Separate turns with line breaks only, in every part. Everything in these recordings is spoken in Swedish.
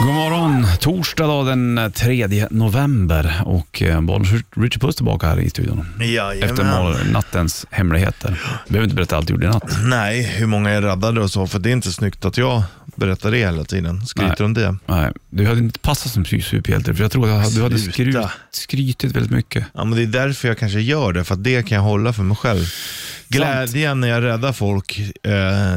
God morgon, torsdag då, den 3 november och eh, Bollnäs Richard Puss tillbaka här i studion. Efter
Jajamän.
mål- nattens hemligheter. Behöver inte berätta allt du gjorde i natt.
Nej, hur många jag räddade och så, för det är inte snyggt att jag berättar det hela tiden. Skryter
Nej.
om det.
Nej, du hade inte passat som superhjälte för jag tror att du hade skryt,
Sluta.
skrytit väldigt mycket.
Ja, men det är därför jag kanske gör det, för att det kan jag hålla för mig själv. Glädjen när jag räddar folk, eh,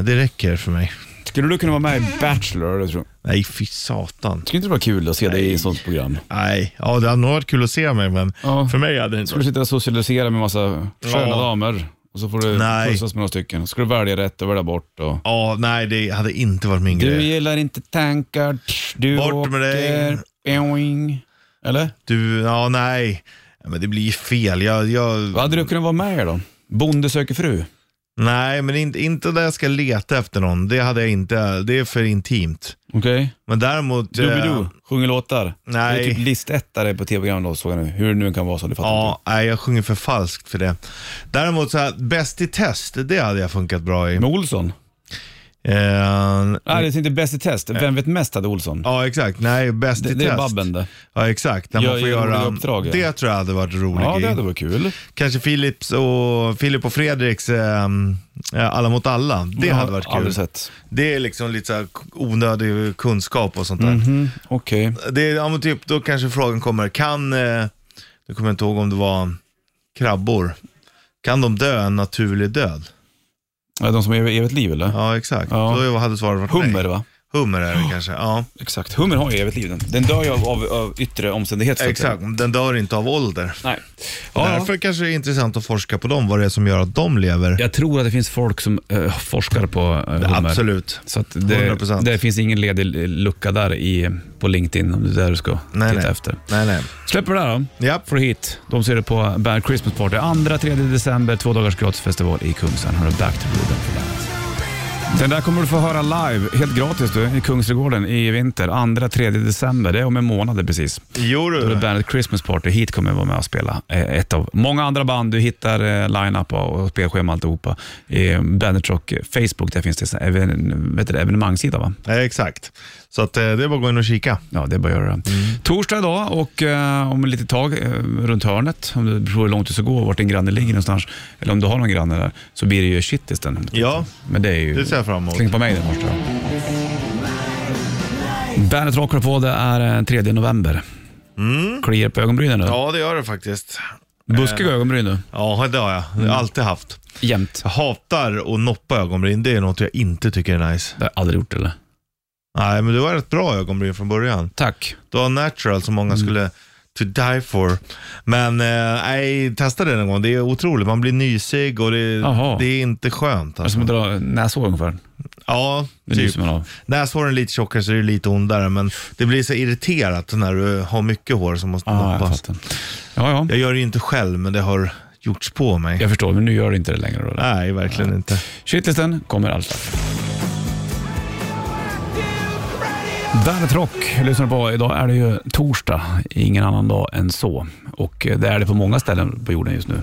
det räcker för mig.
Skulle du kunna vara med i Bachelor? Tror jag.
Nej, fy satan.
Skulle inte det vara kul att se dig i ett sånt program?
Nej, ja, det hade nog varit kul att se mig, men
Ja.
för mig hade det inte
Skulle du
varit.
sitta och socialisera med massa sköna
Ja.
damer och så får du
Nej.
pussas med några stycken. Ska du välja rätt och välja bort. Och...
Ja, nej, det hade inte varit min
Du
grej.
gillar inte tankar, du
Bort med dig.
åker, boing. Eller?
Du, ja, nej. Ja, Men det blir ju fel. Jag, jag,
Vad hade du kunnat vara med i då? Bonde söker fru?
nej, men inte, inte där jag ska leta efter någon. Det hade jag inte. Det är för intimt.
Okej.
Men däremot... eh,
Doobidoo, sjunger låtar.
Nej.
Det är typ listettare på tv-program då, såg jag nu. Hur det nu kan vara så, det fattar inte.
Ja, nej, jag sjunger för falskt för det. Däremot så här, Bäst i test, det hade jag funkat bra i.
Med Olsson?
Eh,
Nej, det är inte Bäst i test. Vem vet mest hade Olsson?
ja, exakt. Nej, Bäst
det,
i
det är
test.
Babben det.
Ja, exakt. När man
Gör
får
ju
göra,
roliga uppdrag, ja.
Det tror jag hade varit roligt
Ja, det hade
i.
varit kul.
Kanske Philips och, Filip och Fredriks eh, eh, Alla mot alla. Det
Jag har
hade varit kul.
Aldrig sett.
Det är liksom lite så här k- onödig kunskap och sånt där.
Mhm, Okej.
Det är, ja, men typ, då kanske frågan kommer, kan, eh, nu kommer jag inte ihåg om det var krabbor, kan de dö en naturlig död?
Ja, De som har evigt- evigt liv eller?
Ja, exakt.
Ja.
Då hade svaret varit
Hummer
nej.
va?
Hummer är det kanske. Ja,
Exakt. Hummer har ju evigt liv. Den, den dör ju av, av, av yttre omständigheter. så att säga.
exakt. Den dör inte av ålder.
Nej. Ja, ja.
Därför kanske det är intressant att forska på dem, vad det är som gör att de lever.
Jag tror att det finns folk som eh, forskar på eh, hummer.
Absolut.
Så att det,
100%.
det finns ingen ledig lucka där i, på LinkedIn om det är där du ska
Nej,
titta
nej.
efter.
Nej, nej.
Släpper det där då.
Ja.
Får du hit. De ser det på Bad Christmas Party. 2-3 december, två dagars gratisfestival i Kungsan. Hör du Back to Rhythm på bandet. Den där kommer du få höra live, helt gratis du, i Kungsträdgården i vinter. 2-3 december, det är om en månad precis.
Jo
Då är det
du.
bandet Christmas Party. Hit kommer jag vara med och spela. eh, Ett av många andra band. Du hittar eh, line-up och och spelschema och alltihopa. Eh, Bandet Rock eh, Facebook, där finns det en even, vet du, det, evenemangssida va?
Nej, Eh, exakt. Så att, eh, det är bara att gå in och kika.
Ja, det är bara att göra. Torsdag idag och eh, om ett litet tag eh, runt hörnet, om det beror hur långt du ska gå och vart din granne ligger någonstans, eller om du har någon granne där, så blir det ju shitlisten.
Ja,
Men det är ju...
det ser jag fram emot.
Släng på mig den första. Bandet Rock har på, det är eh, 3 november. Kliar på ögonbrynen nu.
Mm. Ja, det gör det faktiskt.
Buskiga ögonbryn nu.
Ja, det har jag. Det har
Mm.
jag alltid haft.
Jämt.
Jag hatar att noppa ögonbryn. Det är något jag inte tycker är nice.
Det har jag aldrig gjort eller?
Nej, men du har ett bra ögonbryn från början.
Tack.
Du har natural som
Mm.
många skulle to die for. Men eh, nej, testa det någon gång. Det är otroligt. Man blir nysig och det,
Jaha.
det är inte skönt.
Det är Ah,
Alltså.
som att dra näshår ungefär.
Ja,
Det
typ.
nyser man av.
Näshåren är lite tjockare så det är lite ondare, men det blir så irriterat när du har mycket hår som måste
Ah, jag
noppas.
fattar. Ja, ja.
Jag gör det ju inte själv, men det har gjorts på mig.
Jag förstår, men nu gör det inte det längre. Då.
Nej, verkligen inte.
Shitlisten kommer alldeles strax. Bandet Rock lyssnar du på. Idag är det ju torsdag, ingen annan dag än så. Och eh, det är det på många ställen på jorden just nu.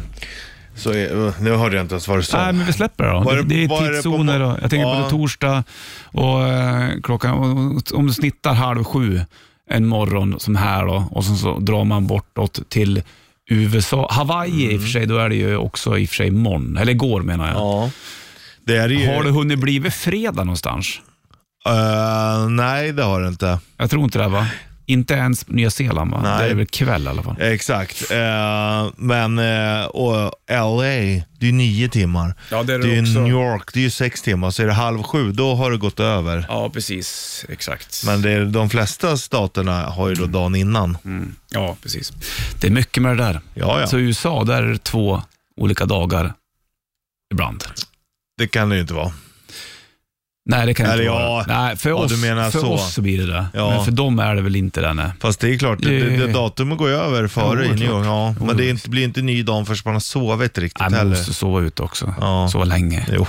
Så, eh, nu hörde jag inte ens vad du sa.
Nej, men vi släpper det då.
Vad är
det,
det-
det
vad är
är
det på
tidszoner.
må-
och- Jag tänker på
Ja.
det torsdag och eh, klockan, och- och- om du snittar halv sju en morgon som här då och sen så drar man bortåt till USA. Hawaii i och för sig, då är det ju också i och för sig imorgon, eller igår menar jag.
Ja. Det är ju...
Har det hunnit blivit fredag någonstans?
Eh, nej, det har det inte.
Jag tror inte det va? Inte ens Nya Zeeland va?
Nej.
Det är väl kväll i alla fall.
Exakt. Eh, men eh, och LA, det är ju nio timmar.
Ja, det är det
ju
också.
New York, det är ju sex timmar. Så är det halv sju, då har det gått över.
Ja, precis. Exakt.
Men det är, de flesta staterna har ju då dagen innan.
Mm. Ja, precis. Det är mycket med det där.
Ja, ja.
Så i USA, där är det två olika dagar ibland.
Det kan det ju inte vara.
Nej, det kan det
Eller
inte
ja,
vara. Nej, för
ja,
oss,
du menar
för
så.
oss så blir det det.
Ja.
Men för dem är det väl inte det. Nej.
Fast det är klart, det, det, det datumet går ju över
Jo,
före i
det är
New York. Ja,
Jo,
men det är
det-
inte, blir inte ny dag förrän man har sovit riktigt
Nej, man
heller.
måste sova ut också.
Ja.
Så länge.
Jo.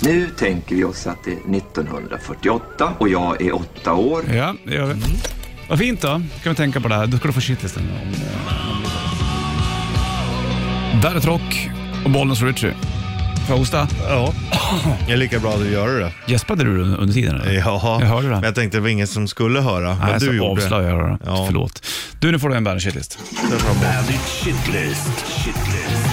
Nu tänker vi oss att det är 1948 och jag är åtta år.
Ja, det gör vi.
Mm.
Vad fint då. Ska vi tänka på det här. Då ska du få shitlisten. Där är Rock och Bollnäs och Richie. Får jag hosta?
Ja. Det är lika bra att du gör det.
Gäspade du under under tiden? eller?
Ja,
Jag hörde det.
men jag tänkte det var ingen som skulle höra.
Nej,
men
så
du gjorde
avslöjar jag det.
Ja.
Förlåt. Du, nu får du en Bandit Shitlist.
det. Fram emot.
Bandit Shitlist. Shitlist.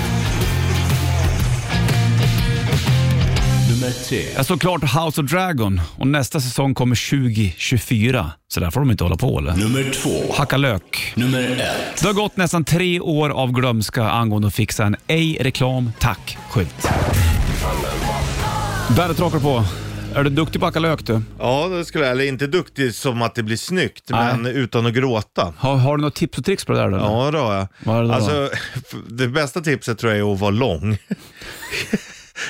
Nummer tre.
Jag står klart House of Dragon och nästa säsong kommer 2024. Så där får de inte hålla på eller?
Nummer två.
Hacka lök.
Nummer ett.
Det har gått nästan tre år av glömska angående att fixa en ej reklam tack-skylt. Bandet rakar på. Är du duktig på att hacka lök du?
Ja, det skulle jag. Eller inte duktig som att det blir snyggt,
Nej.
men utan att gråta.
Har, har du något tips och tricks på det där? Eller?
Ja, det har jag.
Vad är det då?
alltså, det bästa tipset tror jag är att vara lång.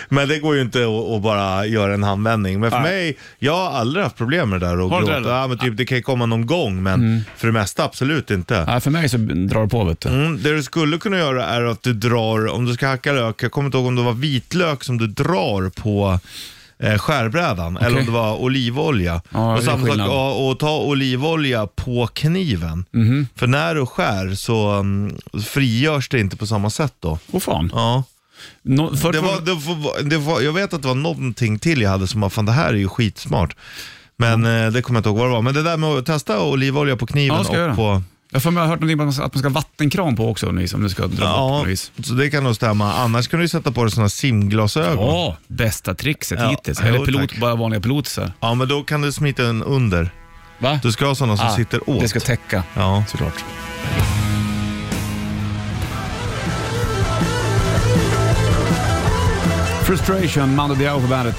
Men det går ju inte att att bara göra en handvändning. Men för
Nej.
mig, jag har aldrig haft problem med det där
Har du
att gråta.
inte Mm. det?
Ja, men typ, det kan ju komma någon gång, men för det mesta absolut inte.
Nej, för mig så drar det på vet du.
Mm, det du skulle kunna göra är att du drar, om du ska hacka lök, jag kommer inte ihåg om det var vitlök som du drar på eh, skärbrädan eller om det var olivolja.
Ja,
och
det är
samma sak,
skillnad.
ja, och ta olivolja på kniven.
Mhm.
För när du skär så um, frigörs det inte på samma sätt då.
Åh fan.
Ja.
Nå, förut
Det
var-
var, det var, det var, jag vet att det var någonting till jag hade som var, fan det här är ju skitsmart. Men eh, det kommer jag inte ihåg vad det var. Men det där med att testa olivolja på kniven
Ja, ska jag
och
göra.
på...
Jag får- jag har hört någonting om att man ska- att man ska ha vattenkran på också ni som du ska dra bort på
Ja,
något vis.
så det kan nog stämma. Annars kan du ju sätta på dig sådana simglasögon. Ja.
Ja, bästa trickset
Ja,
hittills.
jo,
Eller pilot,
tack.
bara vanliga pilotisar.
men då kan du smita en under.
Va?
Du ska ha sådana som
Ah,
sitter åt.
Det ska täcka.
ja.
Såklart. Frustration, Mando Diao på bandet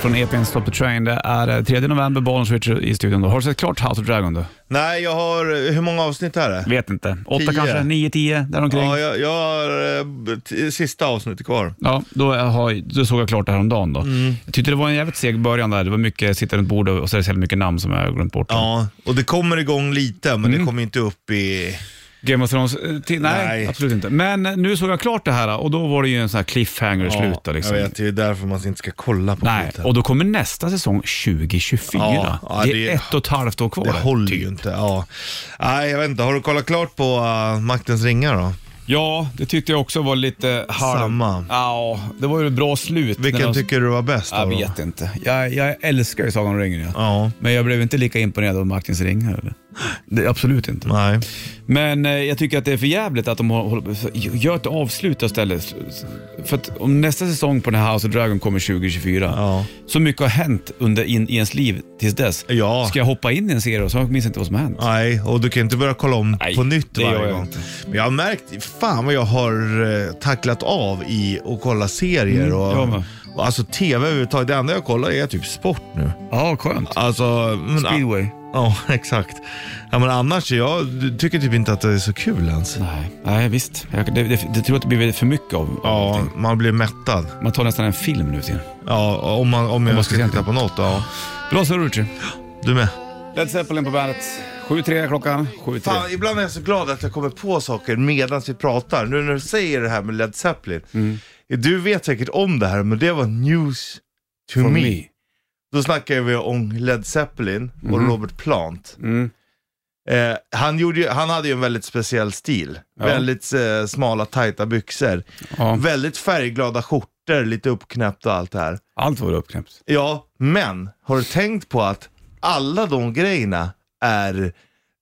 från E EPn Stop the Train. Det är eh, 3 november, Bollnäs Richard i studion. Då. Har du sett klart House of Dragon då?
Nej, jag har... Hur många avsnitt är det?
Vet inte. 8
Tio.
kanske, 9, 10 däromkring. Ja,
Ja, jag, jag har eh, t- sista avsnittet kvar.
då, eh, har, då såg jag klart det häromdagen då.
Mm.
Jag tyckte det var en jävligt seg början där. Det var mycket sitta runt bordet och så är det så jävla mycket namn som jag har glömt bort.
Ja, och det kommer igång lite, men
Mm.
det kommer inte upp i...
Game of Thrones? eh, Till, nej,
Nej.
absolut inte. Men eh, nu såg jag klart det här och då var det ju en sån här cliffhanger
Ja,
slut. då, Liksom.
Jag vet, det är därför man inte ska kolla på
Nej,
skiten.
och då kommer nästa säsong 2024.
Ja, ja,
det är
det-
ett och ett halvt år kvar.
Det
där,
håller
typ.
ju inte. Ja. Nej, jag vet inte. Har du kollat klart på uh, Maktens ringar då?
Ja, det tyckte jag också var lite halv...
Samma.
Ja, det var ju ett bra slut.
Vilken
När de-
tycker du var bäst
alltså- Jag
av dem?
vet inte. Jag, jag älskar ju Sagan om ringen. Ja.
Ja,
Men jag blev inte lika imponerad av Maktens ringar. eller? Det, absolut inte.
nej.
Men eh, jag tycker att det är för jävligt att de hå- håller, så- gör ett avslut istället. För att om nästa säsong på den här House of Dragon kommer 2024,
Ja.
så mycket har hänt under in, i ens liv tills dess.
Ja.
Ska jag hoppa in i en serie och så minns jag inte vad som har hänt?
Nej, och du kan inte börja kolla om
Nej,
på nytt
det gör
varje
jag
gång.
inte.
Men jag har märkt, fan vad jag har eh, tacklat av i att kolla serier
Mm, jag
och,
med.
och alltså tv överhuvudtaget. Det enda jag kollar är typ sport nu.
Ja, skönt.
Alltså, men,
Speedway.
ja exakt. Ja, men annars, jag tycker typ inte att det är så kul ens.
Nej, nej visst. Jag, det, det, det tror jag att det blir för mycket av. av
Ja,
allting.
man blir mättad.
Man tar nästan en film nu till.
Ja, om, man, om jag
man ska
ska
se
titta på något. Ja.
Bra så Richie.
Du med.
Led Zeppelin på bandet. 7.03 klockan. 7.03.
Fan, ibland är jag så glad att jag kommer på saker medan vi pratar. Nu när du säger det här med Led Zeppelin.
Mm.
Du vet säkert om det här, men det var news to
For
me.
me.
Då snackar vi om Led Zeppelin och Robert Plant.
Mm-hmm. Mm.
Eh, han, gjorde ju, han hade ju en väldigt speciell stil.
Ja.
Väldigt eh, smala, tajta byxor.
Ja,
Väldigt färgglada skjortor, lite uppknäppt och allt det här.
allt var uppknäppt.
Ja, men har du tänkt på att alla de grejerna är,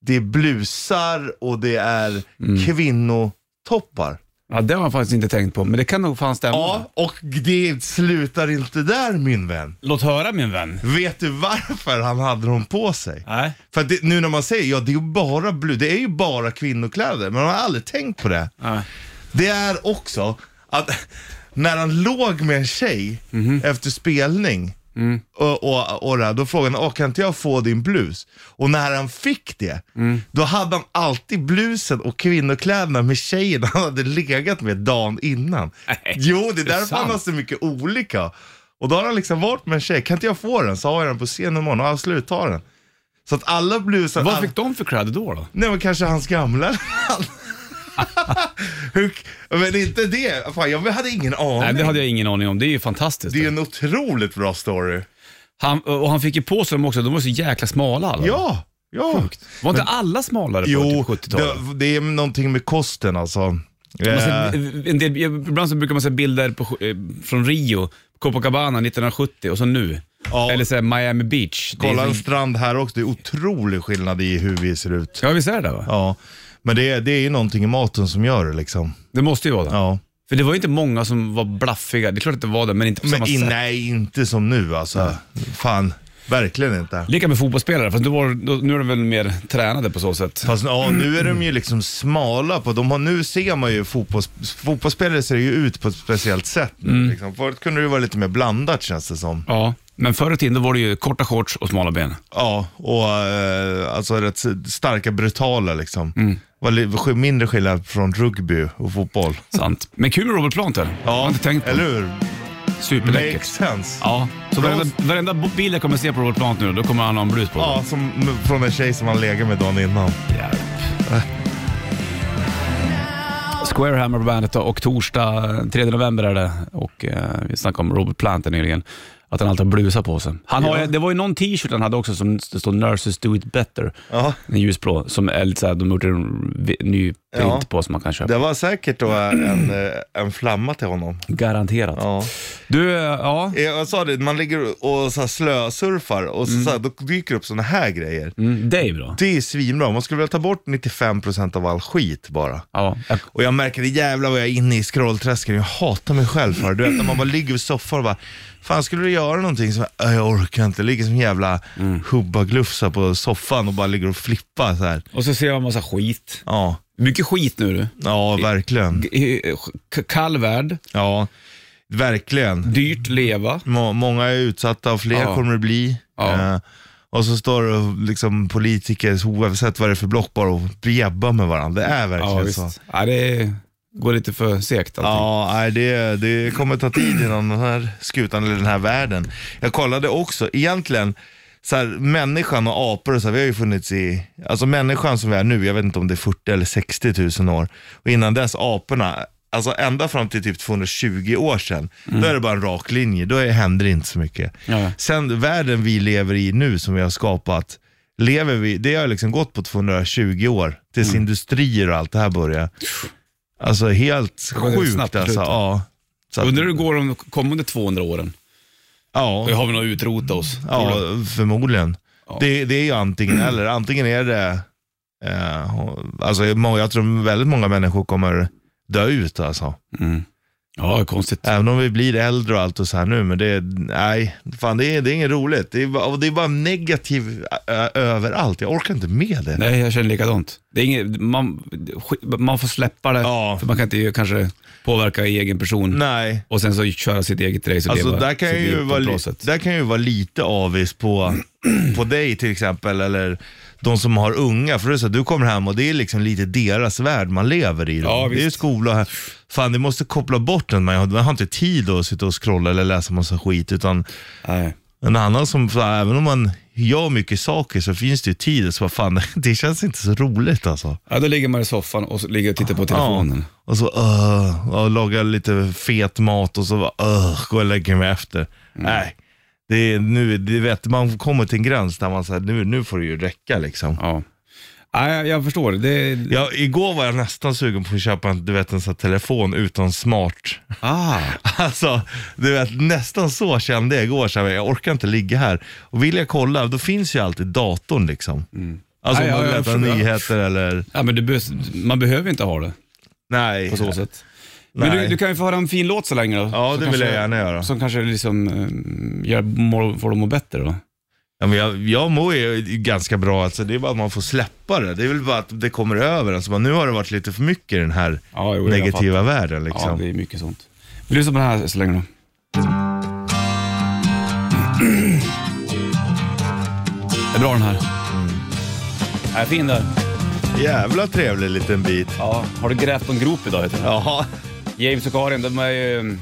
det är blusar och det är kvinnotoppar. Mm.
Ja, det har jag faktiskt inte tänkt på, men det kan nog fan stämma.
Ja, och det slutar inte där min vän.
Låt höra min vän.
Vet du varför han hade dem på sig?
Nej.
För att det, nu när man säger, ja det är ju bara blu, det är ju bara kvinnokläder, men man har aldrig tänkt på det.
Nej.
Det är också att när han låg med en tjej
Mhm.
efter spelning
Mm.
och, och, och det här, då frågade han, "Åh, kan inte jag få din blus? Och när han fick det,
Mm.
då hade han alltid blusen och kvinnokläderna med tjejen han hade legat med dagen innan.
Nej,
jo, det är
det är
därför han har
sant.
så mycket olika. Och då har han liksom varit med en tjej, kan inte jag få den? Så har jag den på scenen imorgon, och absolut, ta den. Så att alla blusar...
Vad
alla-
fick de för cred då? då?
Nej men kanske hans gamla Hur, Men inte det. Fan, jag hade ingen aning.
Nej, det
det,
hade jag ingen aning om. Det är ju fantastiskt.
är en otroligt bra story.
Han, och han fick ju på sig dem också. De var så jäkla smala alla.
Ja, ja.
Sjukt. Var inte alla smalare på
Jo,
typ
det,
70-talet?
det är någonting med kosten alltså.
Man
Eh,
ser, en del, ibland så brukar man se bilder på, eh, från Rio, Copacabana 1970 och så nu.
Ja.
Eller så här Miami Beach. Det är liksom-
Kolla en
så-
strand här också, det är otrolig skillnad i hur vi ser ut.
Ja, visst är det där, va?
Ja, men det, är- det är ju någonting i maten som gör det liksom.
Det måste ju vara det.
Ja.
För det var ju inte många som var blaffiga. Det är klart att det var det, men inte på
Men
samma
i,
sätt.
nej, inte som nu alltså. Fan, verkligen inte.
Lika med fotbollsspelare, fast då var, då, nu är de väl mer tränade på så sätt.
Fast ja, nu är de ju liksom smala på, de har, nu ser man ju fotbolls, fotbollsspelare ser ju ut på ett speciellt sätt nu. Liksom. Förut kunde det ju vara lite mer blandat känns det som.
Ja, men förr i tiden då var det ju korta shorts och smala ben.
Ja, och eh, alltså rätt starka, brutala liksom. Var li- mindre skillnad från rugby och fotboll.
Sant. Men kul med Robert Plant här. Jag har inte tänkt på.
eller hur?
Superläckert.
Makes sense.
Ja, så
Bra.
varenda, varenda bild jag kommer se på Robert Plant nu, då kommer han ha en blus på.
Ja, som m- från en tjej som han legat med dagen innan.
Jävlar. Squarehammer Äh. på bandet då, och torsdag eh, 3 november är det. Och eh, vi snackade om Robert Plant här nyligen. Att han alltid har blusa på sig. Han har, ju- Det var ju någon t-shirt han hade också som det står “Nurses do it better”.
Ja.
En ljusblå, som är lite såhär, de har gjort en vi- ny print
Ja.
på som man kan köpa.
Det var säkert då en, eh, en flamma till honom.
Garanterat.
Ja.
Du, eh, ja.
Eh, Jag sa det, man ligger och så här slösurfar och så, så här, då dyker det upp sådana här grejer.
Mm, det är bra.
Det är svinbra, man skulle vilja ta bort 95% av all skit bara.
Ja. Jag-
Och jag märker det jävla vad jag är inne i scrollträsken, jag hatar mig själv för det. Du vet när man bara ligger vid soffan och bara, fan skulle du göra någonting? Så bara, "Äh, jag orkar inte, jag ligger som en jävla
Mm.
hubbaglufsa på soffan och bara ligger och flippar så här.
Och så ser jag en massa skit.
Ja,
Mycket skit nu du.
ja verkligen.
G- k- Kall värld,
Ja, verkligen.
dyrt leva.
Må- många är utsatta och fler
Ja.
kommer det bli.
Ja.
Eh, och så står det och liksom politiker, oavsett vad det är för block, bara och bjäbbar med varandra. Det är verkligen
Ja,
så.
visst. Ja, det går lite för segt allting.
Ja, nej, det, det kommer ta tid innan den här skutan eller den här världen. Jag kollade också, egentligen, så här, människan och apor, och så här, vi har ju funnits i, alltså människan som vi är nu, jag vet inte om det är 40 eller 60 000 år, och innan dess aporna, alltså ända fram till typ 220 år sedan, då är det bara en rak linje, då är, händer det inte så mycket.
Mm. Ja.
Sen världen vi lever i nu som vi har skapat, lever vi, det har liksom gått på 220 år, tills
Mm.
industrier och allt det här börjar. Alltså helt
går det
sjukt
snabbt
alltså.
ut.
Ja. Så att-
Undrar hur det går de kommande 200 åren.
Ja,
Har vi nog utrotat oss?
ja förmodligen.
Ja.
Det, det är ju antingen eller. Antingen är det, eh, alltså må- jag tror väldigt många människor kommer dö ut alltså.
Mm. Ja, konstigt.
Även om vi blir äldre och allt och så här nu, men det, nej, fan det är, det är inget roligt. Det är, bara- och det är bara negativ ö, överallt. Jag orkar inte med det.
Nej, jag känner likadant. Det är inget, man, skit- man får släppa det,
Ja.
för man kan inte ju kanske påverka i egen person.
nej.
Och sen så köra sitt eget race och
Alltså
leva
där kan,
sitt
jag ju
liv på
vara
ett
li-
bra sätt.
där kan jag ju vara lite avis på, på dig till exempel, eller de som har unga. För det är så här, du kommer hem och det är liksom lite deras värld man lever i. då.
Ja,
det är ju
visst.
skola här. Fan, det måste koppla bort den. Man har, man har inte tid att sitta och scrolla eller läsa massa skit. Utan
Nej.
en annan som, så här, även om man gör mycket saker så finns det ju tid. Så vad fan, det känns inte så roligt alltså.
Ja, då ligger man i soffan och så ligger och tittar på telefonen.
Ja, och så uh, och lagar lite fet mat och så bara, uh, går och lägger mig
Mm.
efter. Nej, det är, nu, det vet, man kommer till en gräns där man säger nu, nu får det ju räcka liksom.
Ja. Nej, jag- jag förstår. Det,
Ja, igår var jag nästan sugen på att köpa en, du vet, en sån här telefon utan smart.
ah.
Alltså, du vet, nästan så kände jag igår. Så här, jag orkar inte ligga här. Och vill jag kolla, då finns ju alltid datorn liksom. Alltså
Mm. Nej, ja, jag
om man letar
förstår.
nyheter eller...
ja, men du, behövs- man behöver inte ha det.
Nej.
på så sätt. Men
Nej.
du, du kan ju få höra en fin låt så länge då.
Ja,
som
det vill jag gärna göra.
Som kanske liksom eh, gör, må, får dem att må bättre då.
Ja, men jag, jag mår ju ganska bra, alltså. det är bara att man får släppa det. Det är väl bara att det kommer över. Alltså, bara, nu har det varit lite för mycket i den här
Ja, jo, jag
negativa världen.
Ja,
Liksom.
det är mycket sånt. Vi lyssnar på den här så länge då. Det är bra den här.
Mm.
Den är fin där.
Jävla trevlig liten bit.
Ja, har du grävt en grop idag heter det.
Ja,
James och Karin, de är ju...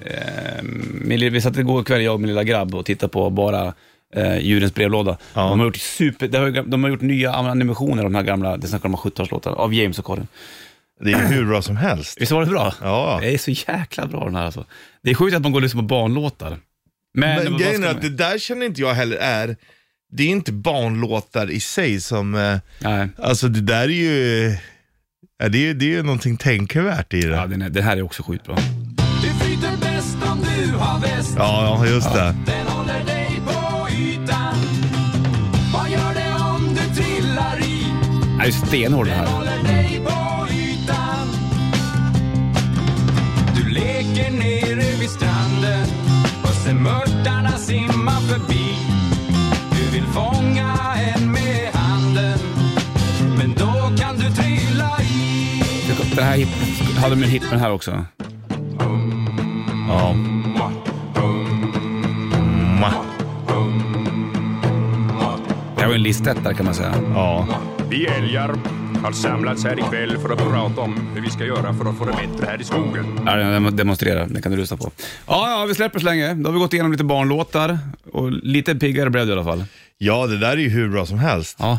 Eh, min lilla- vi satt igår kväll, jag och min lilla grabb, och tittade på bara eh, djurens brevlåda.
Ja.
De, har gjort super, de, har, ju- de har gjort nya animationer av de här gamla, det snackar de om 70-talslåtar, av James och Karin.
det är hur bra som helst.
Visst var det bra?
Ja.
Det är så jäkla bra den här alltså. Det är sjukt att man går och lyssnar på barnlåtar. Men,
Men
vad
grejen
ska
är
man-
att det där känner inte jag heller är, det är inte barnlåtar i sig som, eh,
Nej.
alltså det där är ju, Ja, det, är, ju- det är ju någonting tänkvärt i det.
Ja,
Ja,
den är, det här är också skitbra.
Du flyter bäst om du har väst.
ja just det.
Den håller dig på ytan. Vad gör det om du trillar i?
Den är ju stenhård det här.
Håller dig på ytan. Du leker nere vid stranden och ser mörtarna simma förbi. Du vill fånga en med handen, men då kan du trilla i.
Den här hip, hade de en hit med den här också.
Ja.
Mm.
Mwah.
Det här var en listettare kan man säga.
Ja.
Vi älgar har samlats här ikväll för att prata om hur vi ska göra för att få det bättre här i skogen.
Ja, den demonstrerar, den kan du lyssna på. Ja, ja, vi släpper så länge. Då har vi gått igenom lite barnlåtar och lite piggare blev det i alla fall.
ja, det där är ju hur bra som helst.
Ja,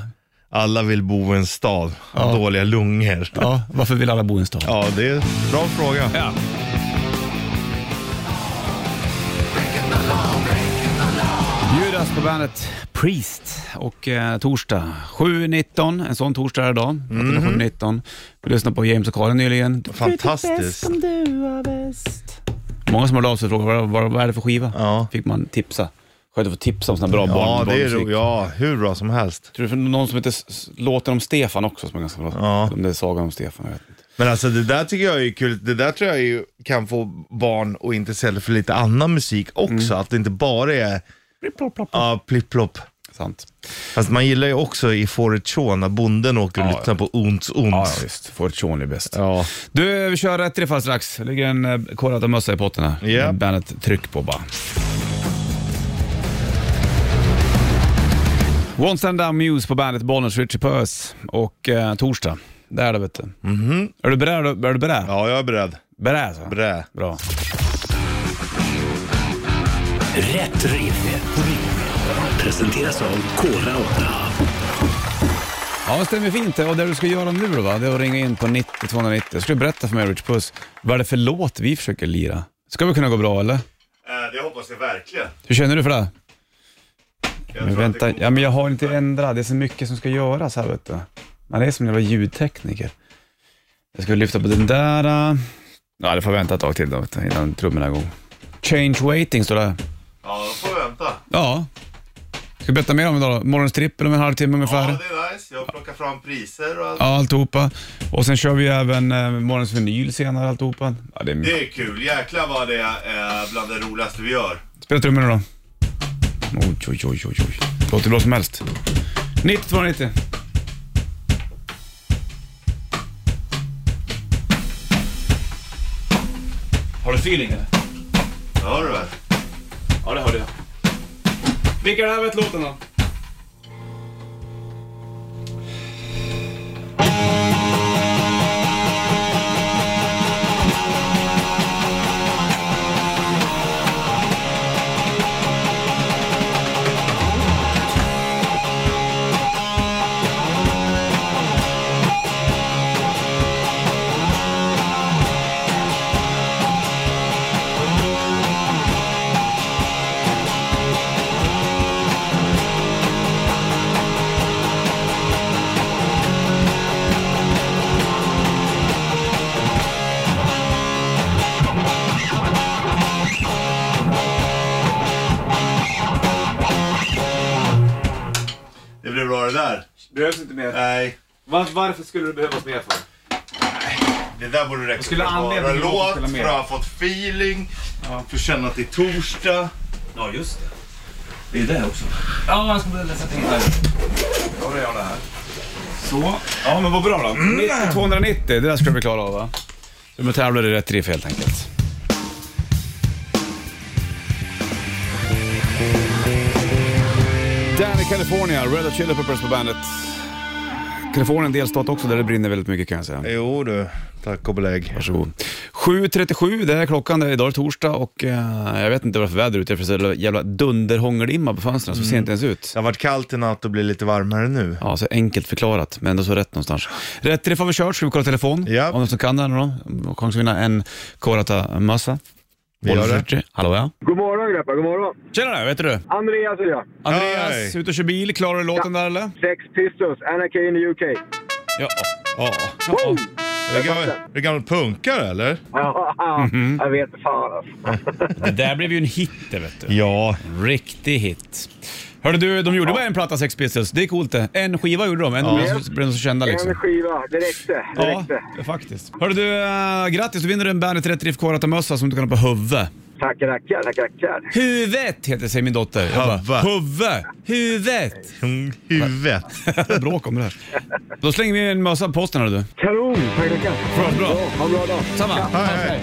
Alla vill bo i en stad. Dåliga lungor. Ja.
ja. varför vill alla bo i en stad?
det är en bra fråga.
Ja. Judas på bandet Priest och eh, torsdag 7.19, en sån torsdag är det idag. Klockan är
Mhm.
7.19. Vi lyssnade på James och Karin nyligen.
Fantastiskt.
Många som har av sig och frågar vad, vad, vad är det för skiva?
Ja.
Fick man tipsa. Skönt att få tipsa om såna bra barn,
Ja, det är
barnmusik.
ro- ja, hur bra som helst.
Tror du det är någon som heter S- S- Låten om Stefan också som är ganska bra?
Ja.
Om det är Sagan om Stefan, jag vet inte.
Men alltså det där tycker jag är kul. Det där tror jag ju kan få barn att intressera sig för lite annan musik också.
Mm.
Att det inte bara är ja, plipp-plopp.
Sant.
Fast man gillar ju också i Fåret Shaw när bonden åker och
Ja,
lyssnar på Onts
Ja,
Onts.
ja visst. Fortune är bäst.
Ja.
Du, vi kör rätt i det fall strax. Det ligger en eh, Korrata-mössa i potten här.
Ja.
Med Bandet Tryck på bara. One Stand Down Muse på bandet Bollnäs, Richie Puss och eh, torsdag. Där är det vet du. Är du beredd? Är du beredd?
Mhm. ja, jag är beredd.
Beredd alltså. så.
Brä.
Bra.
Rätt riff. Presenteras av Kora 8.
Ja, det stämmer fint. det. Och det du ska göra nu då, va? det är att ringa in på 90 290. Ska du berätta för mig, Rich Puss, vad är det för låt vi försöker lira? Ska vi kunna gå bra eller?
Äh, Det hoppas jag verkligen.
Hur känner du för det?
Jag
Men vänta, ja, men jag har inte ändrat. Det är så mycket som ska göras här vet du. Man är som en jävla ljudtekniker. Jag ska lyfta på den där. äh. Ja, det får vänta ett tag till då, vet du, innan trummorna är igång. Change waiting står det. här.
Ja, då får vi vänta.
Ja. Ska vi berätta mer om det då? Morgonens trippel om en halvtimme ungefär.
det är nice. Jag plockar fram priser och allt.
Ja, alltihopa. Och sen kör vi även eh, morgonens vinyl senare, alltihopa. Ja, det är
är kul. Jäklar vad det är eh, bland det roligaste vi gör.
Spela trummorna då. Oj, oj, oj, oj, oj. Låter bra som helst. 90 290. Har du feeling eller?
Hör du väl?
Ja, det hörde jag. Vilka är det här vet låten då?
Det blev bra det där.
Behövs inte mer.
Nej.
varför skulle det behövas mer för?
Det där borde räcka.
skulle
för att
anledningen
vara
vara att spela
låt, för
mer?
att ha fått feeling, för att känna att det är torsdag.
Ja, just det. Det är det också. Ja, jag ska börja läsa till här. Då har jag det här. Så. Ja, men vad bra då. 90 290, det där ska vi klara av va? Du måste tävla i rätt riff helt enkelt. Danny California, Red Hot Chili Peppers på bandet. Kalifornien delstat också där det brinner väldigt mycket kan jag säga.
Jo du, tack och belägg.
Varsågod. 7.37, det är klockan. Det är idag är torsdag och eh, jag vet inte varför vädret är ute, för det är så jävla- jävla dunderhångelimma på fönstren, så ser inte ens ut.
Det har varit kallt i natt och blir lite varmare nu.
Ja, så enkelt förklarat, men ändå så rätt någonstans. Rätt riff har vi kört, ska vi kolla telefon?
Ja.
Om någon som kan den då? Kanske vinna en Korata-mössa.
Vi gör det.
Hallå ja.
God morgon grabbar, god morgon.
Tjena där, vet du?
Andreas heter jag.
Andreas,
Hej.
ute och kör bil. Klarar du låten där eller?
Sex Pistols, Anarchy in the UK.
Ja.
Ja.
ja.
Är du gammal, är du gammal punkare eller?
Ja, jag vet inte fan alltså.
Det där blev ju en hit det vet du.
Ja.
Riktig hit. Hörde du, de gjorde bara en platta Sex Pistols. Det är coolt det. En skiva gjorde de, en av de som blev så kända liksom.
En skiva, det räckte. Det
Ja,
räckte.
faktiskt. Hörde du, eh, grattis. Du vinner en Bandet Rätt Riff Korata-mössa som du kan ha på huvudet.
Tackar, tackar, tackar, tackar.
Huvudet heter säger min dotter. Jag bara,
Huvud.
Huvud. Huvudet.
Mm, Huvudet.
Bråk om det här. Då slänger vi en mössa på posten hörru du.
Kanon, tack, tackar.
Bra, bra.
Ja, ha en bra dag.
Samma.
Hej, hej.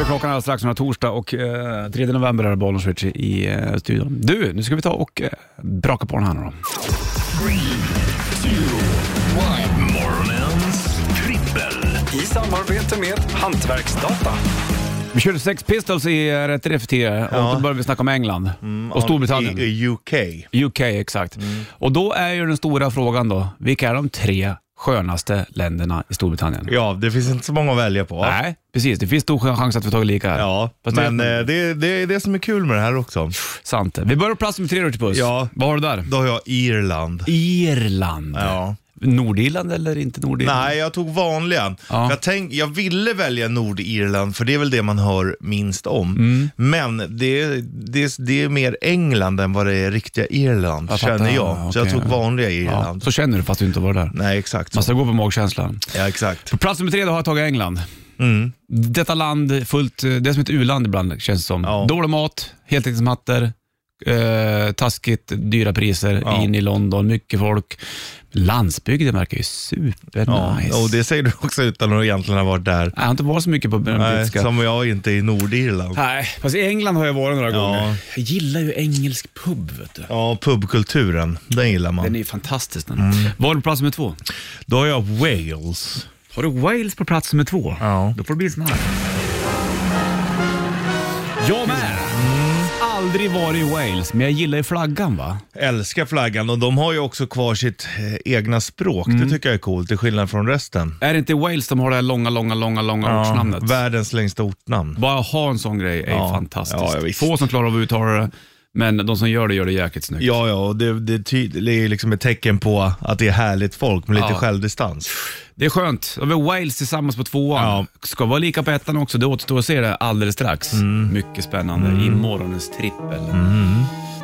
är klockan alldeles strax, den här torsdag och eh, 3 november är det Bollnäs Switch i eh, studion. Du, nu ska vi ta och eh, braka på den här nu då.
Morgonens trippel.
I samarbete med Hantverksdata.
Vi körde Sex Pistols i eh, Rätt Riff tidigare och då började vi snacka om England och Storbritannien.
I, i UK.
UK, exakt.
Mm.
Och då är ju den stora frågan då, vilka är de tre skönaste länderna i Storbritannien?
Ja, det finns inte så många att välja på.
Nej, precis. Det finns stor chans att vi tar lika här.
Ja,
Fast
men
det är
eh, det, det är det som är kul med det här också.
sant. Vi börjar på plats med tre Ritchie Puss.
Ja.
Vad har du där?
Då har jag Irland.
Irland.
Ja.
Nordirland eller inte Nordirland?
Nej, jag tog vanliga.
Ja.
Jag, tänk, jag ville välja Nordirland, för det är väl det man hör minst om. Men det, det, det är mer England än vad det är riktiga Irland,
Jag fattar.
känner jag.
Ja,
Så jag
okej.
tog vanliga
Ja,
Irland.
så känner du fast du inte var där.
Nej, exakt.
Man
Så.
ska gå på magkänslan.
Ja, exakt.
På plats nummer tre då har jag tagit England.
Mm.
Detta land fullt, eh, det är som ett u-land ibland känns det som.
Ja.
Dålig mat, heltäckningsmattor, eh, taskigt dyra priser
Ja.
in i London, mycket folk. Landsbygden verkar ju
Ja,
supernice.
och det säger du också utan att egentligen ha varit där.
Jag har inte varit så mycket på den
Nej,
brittiska.
som jag inte i Nordirland.
Nej, fast i England har jag varit några gånger.
Ja.
Jag gillar ju engelsk pub, vet du.
Ja, pubkulturen, den gillar man.
Den är ju fantastisk den.
Mm.
Var du på plats nummer två?
Då har jag Wales.
Har du Wales på plats nummer två?
Ja.
Då får det bli sån här. Jag med! Mm. Aldrig varit i Wales, men jag gillar ju flaggan va?
Älskar flaggan och de har ju också kvar sitt eh, egna språk. Det tycker jag är coolt, till skillnad från resten.
Är det inte i Wales de har det här långa, långa, långa, långa ortsnamnet?
Världens längsta ortnamn.
Bara ha en sån grej är ju
Ja.
fantastiskt.
Ja, ja, visst.
Få som klarar av att uttala det, men de som gör det gör det jäkligt snyggt.
Ja, ja, och det, det, ty- det är liksom ett tecken på att det är härligt folk med lite
Ja.
självdistans.
Det är skönt. Då har vi Wales tillsammans på tvåan.
Ja.
Ska vara lika på ettan också. Det återstår att se det alldeles strax.
Mm.
Mycket spännande i morgonens trippel.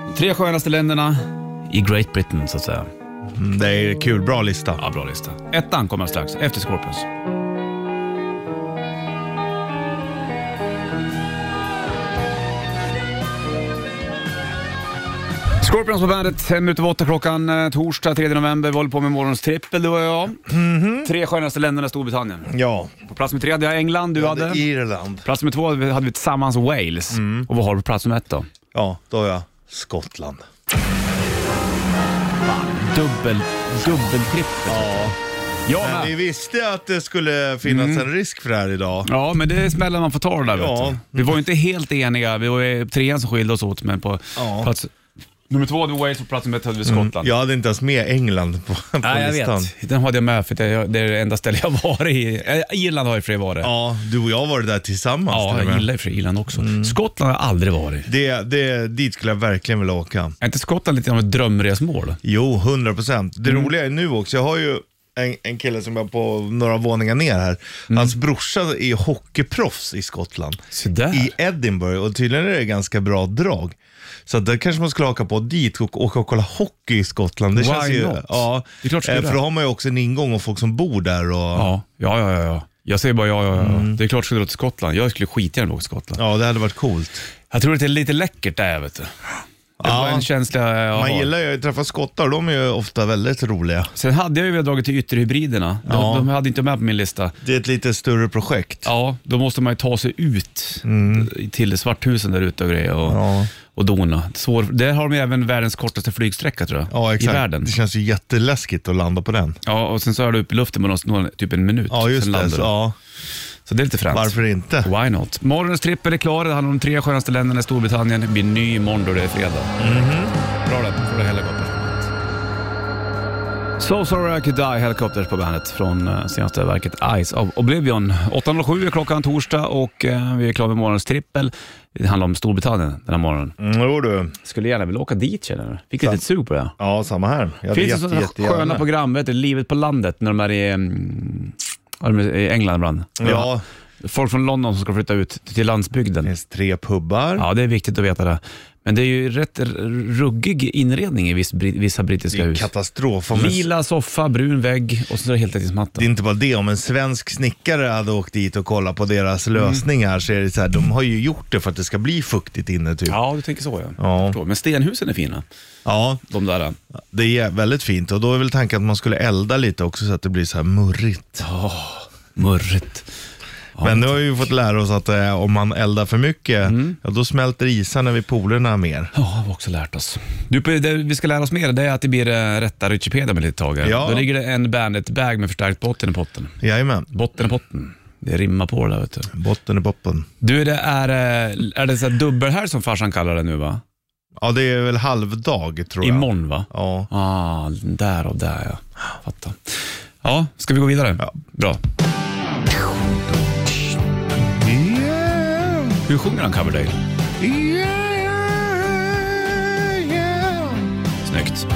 De tre skönaste länderna i Great Britain så att säga.
Mm, det är kul, bra lista.
Ja, bra lista. Ettan kommer strax, efter Scorpions. Scorpions på bandet, fem minuter över åtta klockan, eh, torsdag 3 november. Vi håller på med morgons trippel du och jag. Tre skönaste länderna i Storbritannien.
Ja,
På plats med tre hade jag England, du
det är
hade...
Irland.
Plats med två hade vi tillsammans Wales. Och vad har du på plats med ett då?
Ja, då har jag Skottland.
Dubbel, dubbeltrippel.
Ja.
Jag
Men vi
med.
visste att det skulle finnas en risk för det här idag.
Ja, men det är smällen man får ta där
Ja.
vet du. Vi var ju inte helt eniga. Vi var ju trean som skilde oss åt, men på
Ja.
plats nummer två hade vi Wales och på plats nummer ett hade vi Skottland.
Jag hade inte ens med England på, på
Nej, jag
listan.
vet. Den hade jag med för det är det är det enda stället jag har varit i. Eh, Irland har jag i och för sig varit.
Ja, du och jag har varit där tillsammans.
Ja,
till och
jag
med.
gillar ju för sig Irland också.
Mm.
Skottland har jag aldrig varit.
det, det, dit skulle jag verkligen vilja åka.
Är inte Skottland lite av ett drömresmål?
Jo, 100 procent. Det
Mm.
roliga är nu också, jag har ju en, en kille som är på några våningar ner här.
Mm.
Hans brorsa är hockeyproffs i Skottland.
Så där.
I Edinburgh och tydligen är det ganska bra drag. Så att där kanske man skulle haka på dit och åka och kolla hockey i Skottland. Det
Why
känns ju,
not?
Ja,
Det är klart du ska
eh,
göra.
för då har man ju också en ingång och folk som bor där. Och, ja. Mm.
Ja, ja, ja. ja, ja. Jag säger bara ja, ja, ja. Det är klart skulle du till Skottland. Jag skulle skitgärna åka till Skottland.
det hade varit coolt.
Jag tror att det är lite läckert där, vet du. Det var
Ja.
en känsla jag
Man
har.
gillar ju att träffa skottar och de är ju ofta väldigt roliga.
Sen hade jag ju velat dragit till ytterhybriderna. De,
Ja.
de hade inte med på min lista.
Det är ett lite större projekt.
Ja, då måste man ju ta sig ut till Svarthusen där ute och grejer och,
Mm. Ja.
och dona. Svår, där har de ju även världens kortaste flygsträcka tror jag,
Ja, exakt.
i världen.
Det känns ju jätteläskigt att landa på den.
Ja, och sen så är du uppe i luften på någon, någon, typ en minut.
Ja, just
sen
det.
landar
Så,
du.
ja.
så det är lite fränt.
Varför inte?
Why not? Morgonens trippel är klar. Det handlar om de tre skönaste länderna i Storbritannien. Det blir Mhm. ny imorgon då det är fredag. Bra det. får du hälla gott. So Sorry I Could Die Helicopters på bandet från eh, senaste verket Eyes of Oblivion. 8.07 är klockan torsdag och eh, vi är klara med morgonens trippel. Det handlar om Storbritannien den här morgonen.
Mm, jo du.
Skulle gärna vilja åka dit känner du. Fick lite sug på det.
Ja, samma här. Jag
Finns
hade
det sådana
jättegärna-
sköna program, vet du, Livet på landet, när de är i, mm, vad är det, i England ibland?
Ja,
Folk från London som ska flytta ut till
det
landsbygden.
finns tre pubbar.
Ja, det är viktigt att veta det. Men det är ju rätt r- ruggig inredning i viss, bri- vissa
det
brittiska
är
hus.
katastrof. Om en,
Lila soffa, brun vägg och så är det heltäckningsmatta.
det är inte bara det, om en svensk snickare hade åkt dit och kollat på deras
Mm.
lösningar så är det så här, de har ju gjort det för att det ska bli fuktigt inne typ. Ja,
Ja, du tänker så ja.
Ja.
Jag förstår. Men stenhusen är fina, de där.
det är väldigt fint och då är väl tanken att man skulle elda lite också så att det blir så här murrigt.
Murret.
Men nu har vi ju fått lära oss att eh, om man eldar för mycket,
Mm.
ja, då smälter isarna vid polerna mer.
Ja, har vi också lärt oss. Du, på- det vi ska lära oss mer det är att det blir eh, rätta Wikipedia med lite tag. här.
Ja.
Då ligger det en Bandet-bag med förstärkt botten i potten.
Jajamän,
Botten i potten. Det rimmar på det där vet du.
botten i poppen.
Du, det är, eh, är det så här dubbelhelg som farsan kallar det nu va?
Ja, det är väl halvdag tror jag.
Imorgon va?
Ja.
Ah, där och där ja. Fattar. Ja, ska vi gå vidare?
Ja.
Bra.
Yeah,
Hur sjunger han Coverdale?
yeah, yeah.
Snyggt.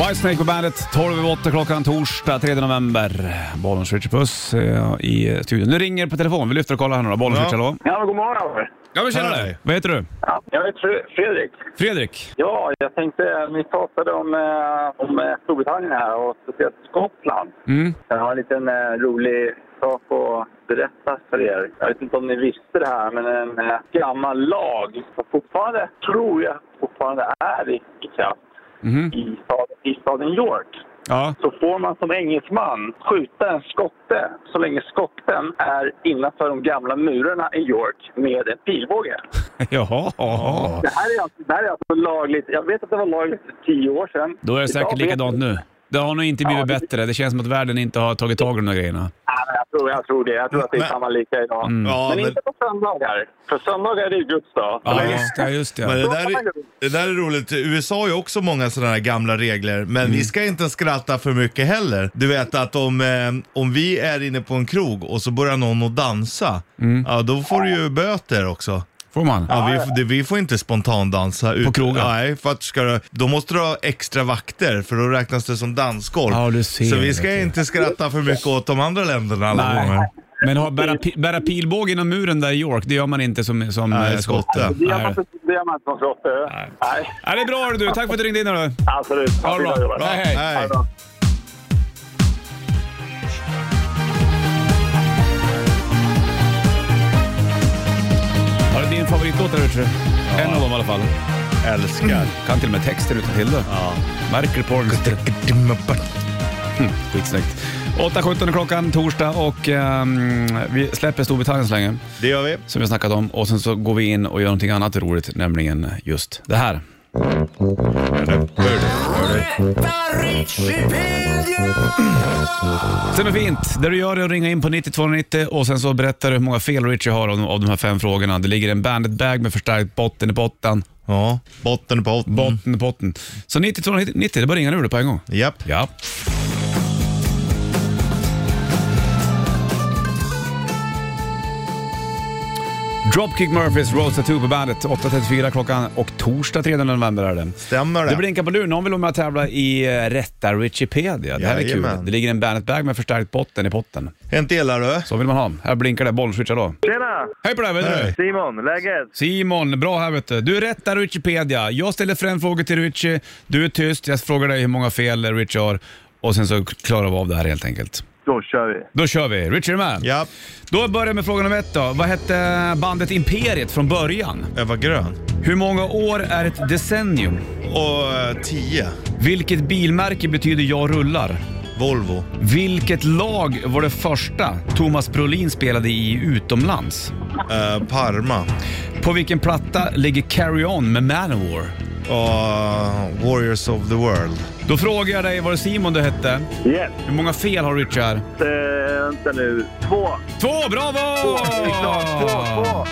Whitesnake på bandet, 12 över 8 klockan torsdag 3 november. Bollens Richard Puss eh, i studion. Nu ringer på telefon. Vi lyfter och kollar här nu då. Bollens
Ja.
Richard, hallå?
Ja, men god morgon.
Ja men
tjena dig.
Vad heter du?
Ja, jag heter Fre- Fredrik.
Fredrik?
Ja, jag tänkte, ni pratade om, eh, om eh, Storbritannien här och speciellt Skottland.
Mm.
Jag har en liten eh, rolig sak att berätta för er. Jag vet inte om ni visste det här, men en eh, gammal lag som fortfarande, tror jag, fortfarande är i, i kraft i, staden, i staden York.
Ja.
Så får man som engelsman skjuta en skotte så länge skotten är innanför de gamla murarna i York med en pilbåge.
Jaha.
Det här, är alltså, det här är alltså lagligt. Jag vet att det var lagligt för tio år sedan.
Då är det
Idag
säkert
vet-
likadant nu. Det har nog inte blivit
Ja, det-
bättre. Det känns som att världen inte har tagit tag i de där grejerna.
Nej, men jag, tror, jag tror det. Jag tror att det är
Men-
samma lika idag.
Mm.
Ja,
men,
men-
inte på söndagar. För söndagar är det ju Guds dag.
Ja,
Men-
just det. Just
Men
det.
det, där är, det där är roligt. USA har ju också många sådana här gamla regler, men
Mm.
vi ska inte skratta för mycket heller. Du vet att om, eh, om vi är inne på en krog och så börjar någon att dansa,
Mm.
ja, då får du ju böter också.
Får man?
Ja, vi, f- det, vi får inte spontandansa. ut-
På krogen?
Nej, för att ska du, då måste du ha extra vakter för då räknas det som dansgolv.
Ja, du ser,
så vi
vet
ska
du.
inte skratta för mycket åt de andra länderna alla gånger.
Nej. Men har, bära, pi- bära pilbåge inom muren där i York, det gör man inte som, som
Nej,
eh, skotte.
skotte.
Det gör man
Nej.
inte- det gör man inte som skotte. Nej,
Ja, det är bra du. Tack för att du ringde in. hörru.
absolut.
Ha det bra.
Fina jobbat.
Hej, hej.
Ha det bra.
Har du din favoritlåt där ute? En av dem i alla fall.
Älskar.
Kan till och med texten utan till det. Ja. Märker du på den? Skitsnyggt. 8.17 är klockan, torsdag och ehm, vi släpper Storbritannien så länge,
Det gör vi.
som vi snackat om. Och sen så går vi in och gör någonting annat roligt, nämligen just det här. Sen är fint. Det du gör är att ringa in på 9290 och sen så berättar du hur många fel Richie har av de, av de här fem frågorna. Det ligger en bandit bag med förstärkt botten i botten.
Ja, botten på botten.
Botten i botten. Så 9290, det är bara att ringa nu då på en gång.
Japp.
Ja. Dropkick Murphys Rose Tattoo på bandet. 8.34 klockan och torsdag 3 november är det.
Stämmer det?
Det blinkar på luren. Någon vill vara med och tävla i eh, rätta Wikipedia. Det här är kul.
Jajamän.
Det ligger en Bandet-bag med förstärkt botten i potten.
En till här, du.
Så vill man ha. Här blinkar det. Bollswitchar då.
Tjena!
Hej på dig, vet du.
Hej.
Simon, läget?
Simon, bra här vet du. Du är rätt där Wikipedia. Jag ställer främfrågor till Richie, du är tyst, jag frågar dig hur många fel Richie har och sen så klarar vi av det här helt enkelt.
Då kör vi.
Då kör vi. Richie är du med?
Japp.
Då börjar vi med fråga nummer ett då. Vad hette bandet Imperiet från början?
Eva Grön.
Hur många år är ett decennium?
Och eh, 10.
Vilket bilmärke betyder jag rullar?
Volvo.
Vilket lag var det första Thomas Brolin spelade i utomlands?
Eh, Parma.
På vilken platta ligger Carry On med Manowar?
Och eh, Warriors of the World.
Då frågar jag dig, var det Simon du hette?
Yes!
Hur många fel har Richard? här?
Eh, vänta nu. Två.
Två! Bravo!
Två, det är klart. Två, två.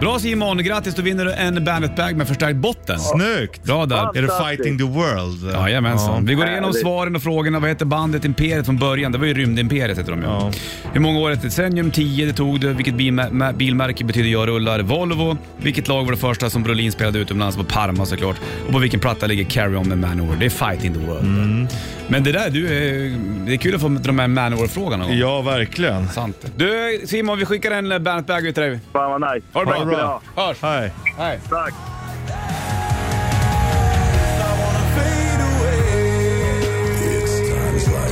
Bra Simon, grattis! Då vinner du en Bandet-bag med förstärkt botten.
Snyggt!
Bra där.
Är det fighting the world?
Jajamensan. Vi går igenom
Härligt.
svaren och frågorna. Vad hette bandet Imperiet från början? Det var ju Rymdimperiet heter de ju.
Ja.
Hur många år efter Senium 10 det tog du? Vilket bilma- ma- bilmärke betyder jag rullar? Volvo. Vilket lag var det första som Brolin spelade utomlands? På Parma såklart. Och på vilken platta ligger Carry On med Manowar? Det är Fighting the World.
Mm.
Men det där, du, är- det är kul att få de här Manowar-frågorna någon gång.
Ja, verkligen.
Sant. Du Simon, vi skickar en Bandet-bag ut till dig.
Fan vad nice.
Ha det bra.
Ha det bra.
Hörs!
Hej.
Hej.
Tack.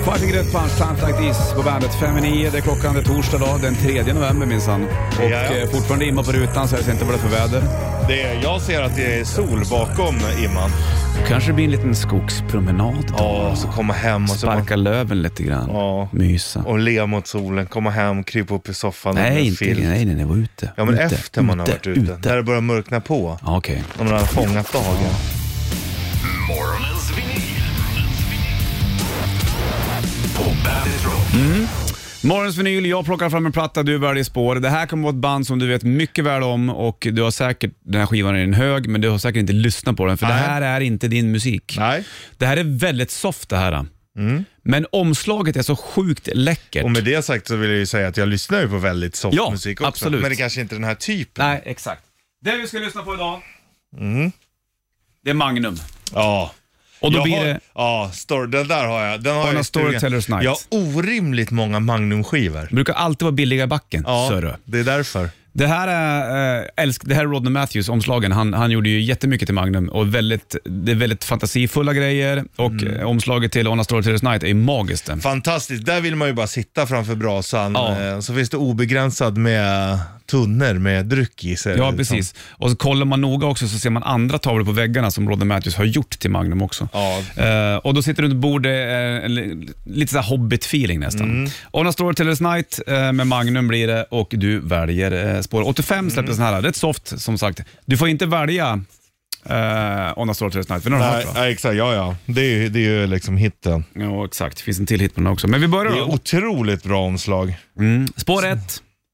Fighting Red Punch, Times Like This på bandet. Fem i nio, det är klockan, det är torsdag dag, den 3 november minsann. Och
Ja.
eh, fortfarande imma på rutan så jag ser inte vad det är för väder.
Det är, jag ser att det är sol bakom imman.
Kanske det blir en liten skogspromenad.
Ja, så komma hem och så...
Sparka löven lite grann.
Ja.
Mysa.
Och le mot solen, komma hem, krypa upp i soffan under
nej, inte
filt.
nej, nej, nej, var ute.
Ja, men
ute,
efter man har varit ute.
ute.
När det börjar mörkna på.
Ja, Okej.
När man har fångat dagen.
Morgonens vinyl. På Bandit Rock.
Morgons vinyl, jag plockar fram en platta, du väljer spår. Det här kommer vara ett band som du vet mycket väl om och du har säkert, den här skivan är en hög, men du har säkert inte lyssnat på den för det
Nej.
här är inte din musik.
Nej. Mm.
Det här är väldigt soft det här. Men omslaget är så sjukt läckert.
Och med det sagt så vill jag ju säga att jag lyssnar ju på väldigt soft
Ja,
musik också.
absolut.
Men det kanske inte är den här typen.
Nej, exakt. Det vi ska lyssna på idag,
Mm.
det är Magnum.
Ja.
Och då
jag
blir
har,
det...
Ja, stor, den där har jag. Den har
Arna
jag i stugan.
Storytellers Night.
Jag har orimligt många Magnum-skivor.
brukar alltid vara billiga i backen,
Ja,
sörru.
det är därför.
Det här är, eh, älsk, det här är Rodney Matthews, omslagen. Han, han gjorde ju jättemycket till Magnum och väldigt, det är väldigt fantasifulla grejer och
Mm.
eh, omslaget till On a Story Terrorist Night är ju magiskt.
Fantastiskt, där vill man ju bara sitta framför brasan.
Ja.
Eh, Så finns det obegränsad med tunnor med dryck i sig.
Ja,
liksom.
precis. Och så kollar man noga också så ser man andra tavlor på väggarna som Rodney Matthews har gjort till Magnum också.
Ja.
Eh, och då sitter du runt bordet, eh, en li- lite så här hobbit-feeling nästan.
Mm.
On a Story Tellers Night eh, med Magnum blir det och du väljer eh, spår
Mm.
85 släpptes den här. Rätt soft som sagt. Du får inte välja eh, On a Story Tellers Night, för den har du
Nej,
hört va?
nej, exakt. Ja, ja. Det är ju, det är ju liksom hitten.
Ja, exakt. finns en till hit på den också. Men vi börjar
Det är
då.
otroligt bra omslag.
Spår 1,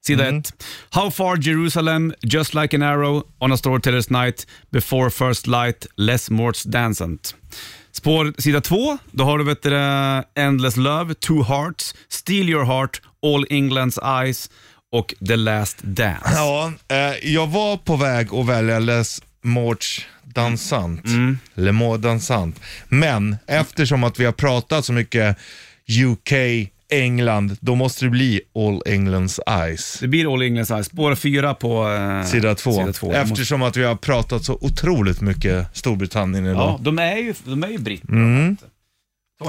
sida 1.
Mm.
How far Jerusalem, just like an arrow, on a storyteller's night, before first light, Les Morts dancent. Spår sida 2, då har du vet du, det, Endless Love, Two Hearts, Steal Your Heart, All England's Eyes och The Last Dance.
Ja, eh, jag var på väg att välja Les Morts Dansant. Le Maux Dansant. Men eftersom att vi har pratat så mycket UK, England, då måste det bli All England's Eyes.
Det blir All England's Eyes. Spår 4 på eh,
Sida två.
Sida två. Jag måste-
Eftersom att vi har pratat så otroligt mycket Storbritannien
Ja,
idag.
de är ju, de är ju britter. Tony
Mm.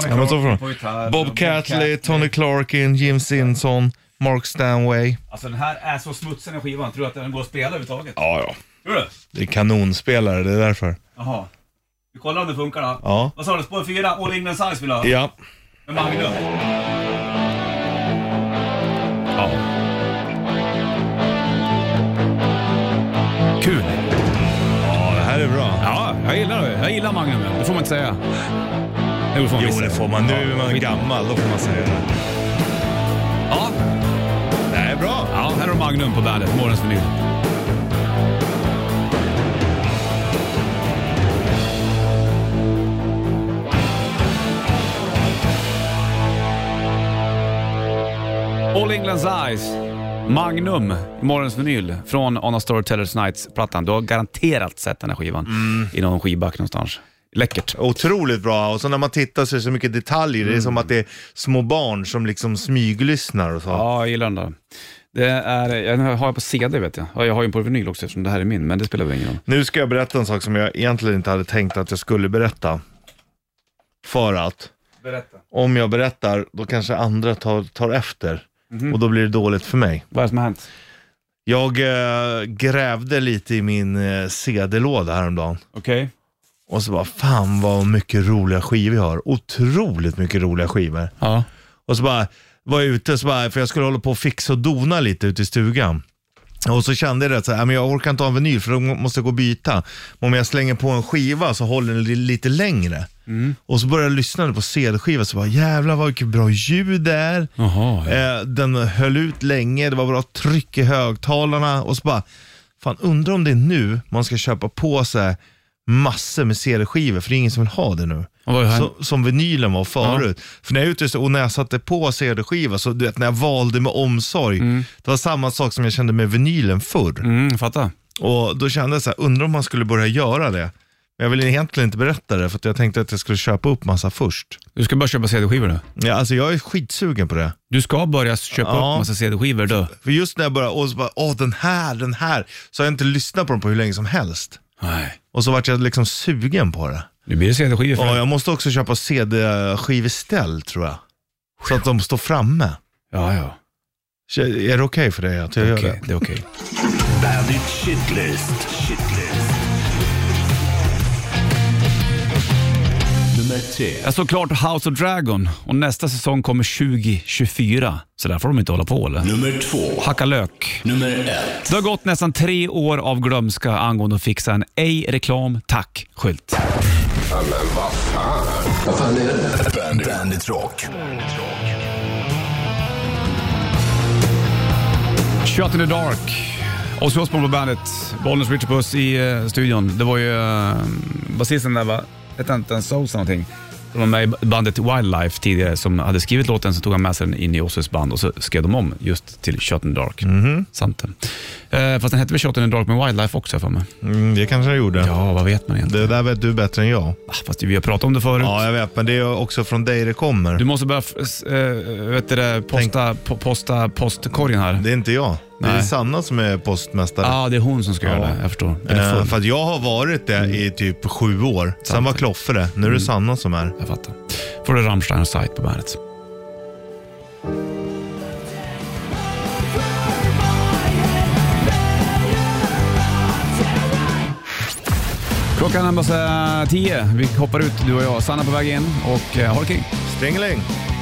Ja, men så får de.
på gitarr,
Bob Catley, Tony Clarkin, Jim Simpson, Mark Stanway.
Alltså den här är så smutsig den här skivan, tror du att den går att spela överhuvudtaget?
Ja, ja.
Tror du?
Det är kanonspelare, det är därför.
Jaha. Vi kollar om det funkar då.
Ja.
Vad sa du? Spår 4, All England Size vill du ha?
Ja.
Med Magnum. Ja. Kul!
Ja, det här är bra.
Ja, jag gillar det. Jag gillar Magnum. Det får man inte säga. Det får man
Jo, det får man. Nu är man gammal, då får man säga det.
Ja.
Det här är bra.
ja, här har Magnum på bandet. Morgons vinyl. All England's Eyes, Magnum, morgons vinyl från On a Storytellers Nights-plattan. Du har garanterat sett den här skivan
Mm.
i någon skivback någonstans. Läckert.
Otroligt bra. Och så när man tittar så är det så mycket detaljer. Det är som att det är små barn som liksom smyglyssnar och så.
Ja, jag gillar den där. Det är, jag har jag på CD vet jag. Ja, Jag har ju den på vinyl också eftersom det här är min, men det spelar väl ingen roll.
Nu ska jag berätta en sak som jag egentligen inte hade tänkt att jag skulle berätta. För att
Berätta.
om jag berättar, då kanske andra tar, tar efter. Och då blir det dåligt för mig.
Vad är det som har hänt?
Jag eh, grävde lite i min eh, CD-låda häromdagen.
Okej.
Och så bara, fan vad mycket roliga skivor jag har. Otroligt mycket roliga skivor.
Ja.
Och så bara var jag ute, så bara, för jag skulle hålla på och fixa och dona lite ute i stugan. Och så kände jag det, att så här, "Nej, men jag orkar inte ha en vinyl för då måste jag gå och byta. Men om jag slänger på en skiva så håller den li- lite längre. Och så började jag lyssna på CD-skiva så bara jävlar vad mycket bra ljud det är.
Jaha, ja.
Eh, den höll ut länge, det var bra tryck i högtalarna och så bara Fan, undrar om det är nu man ska köpa på sig massor med CD-skivor, för det är ingen som vill ha det nu.
Och vad är det här?
Så, som vinylen var förut. För när jag, ute, och när jag satte på CD-skiva, så du vet, när jag valde med omsorg, det var samma sak som jag kände med vinylen förr.
Mm, fatta.
Och då kände jag så här, undrar om man skulle börja göra det. Men jag ville egentligen inte berätta det, för att jag tänkte att jag skulle köpa upp massa först.
Du ska bara köpa CD-skivor nu.
Ja, alltså jag är skitsugen på det.
Du ska börja köpa
Ja.
upp massa CD-skivor då.
För just när jag började, och så bara, åh den här, den här. Så har jag inte lyssnat på dem på hur länge som helst.
Nej.
Och så vart jag liksom sugen på det.
Nu blir det CD-skivor för
Ja,
dig.
jag måste också köpa CD-skiveställ tror jag. Så att de står framme.
ja, ja.
Så Är det okej för dig att jag
Okej,
gör det?
det är okej.
Bandit Shitlist. Shitlist. Nummer tre.
Jag såg klart House of Dragon och nästa säsong kommer 2024. Så där får de inte hålla på eller?
Nummer två.
Hacka lök.
Nummer ett.
Det har gått nästan tre år av glömska angående att fixa en ej reklam tack-skylt.
Bandit, Bandit Rock.
28 in the Dark. Och så på bandet. Bollnäs Richard Puss i eh, studion. Det var ju eh, basisten där va? Hette han inte ens Souls någonting? Som var med i bandet Wildlife tidigare som hade skrivit låten, så tog han med sig den in i Ossis band och så skrev de om just till Shot in the Dark. Sant det. Eh, fast den hette väl Shot in the Dark med Wildlife också för mig.
Mm, det kanske jag gjorde.
Ja, vad vet man egentligen?
Det där vet du bättre än jag.
Ah, Fast vi har pratat om det förut.
Ja, jag vet, men det är också från dig det kommer.
Du måste börja äh, vet du, det, posta, po posta postkorgen här.
Det är inte jag. Det är
Nej.
Sanna som är postmästare.
Ja, ah, det är hon som ska
Ja.
göra det. Jag förstår. Den är
Eh,
full.
för att jag har varit det i typ sju år. Sen
Sant.
var Kloffe det. Nu är det Sanna som är.
Jag fattar. Får du Rammstein och Sight på bandet. Klockan är bara så här tio. Vi hoppar ut du och jag. Sanna på väg in och eh, ha det kul.
Stringeling!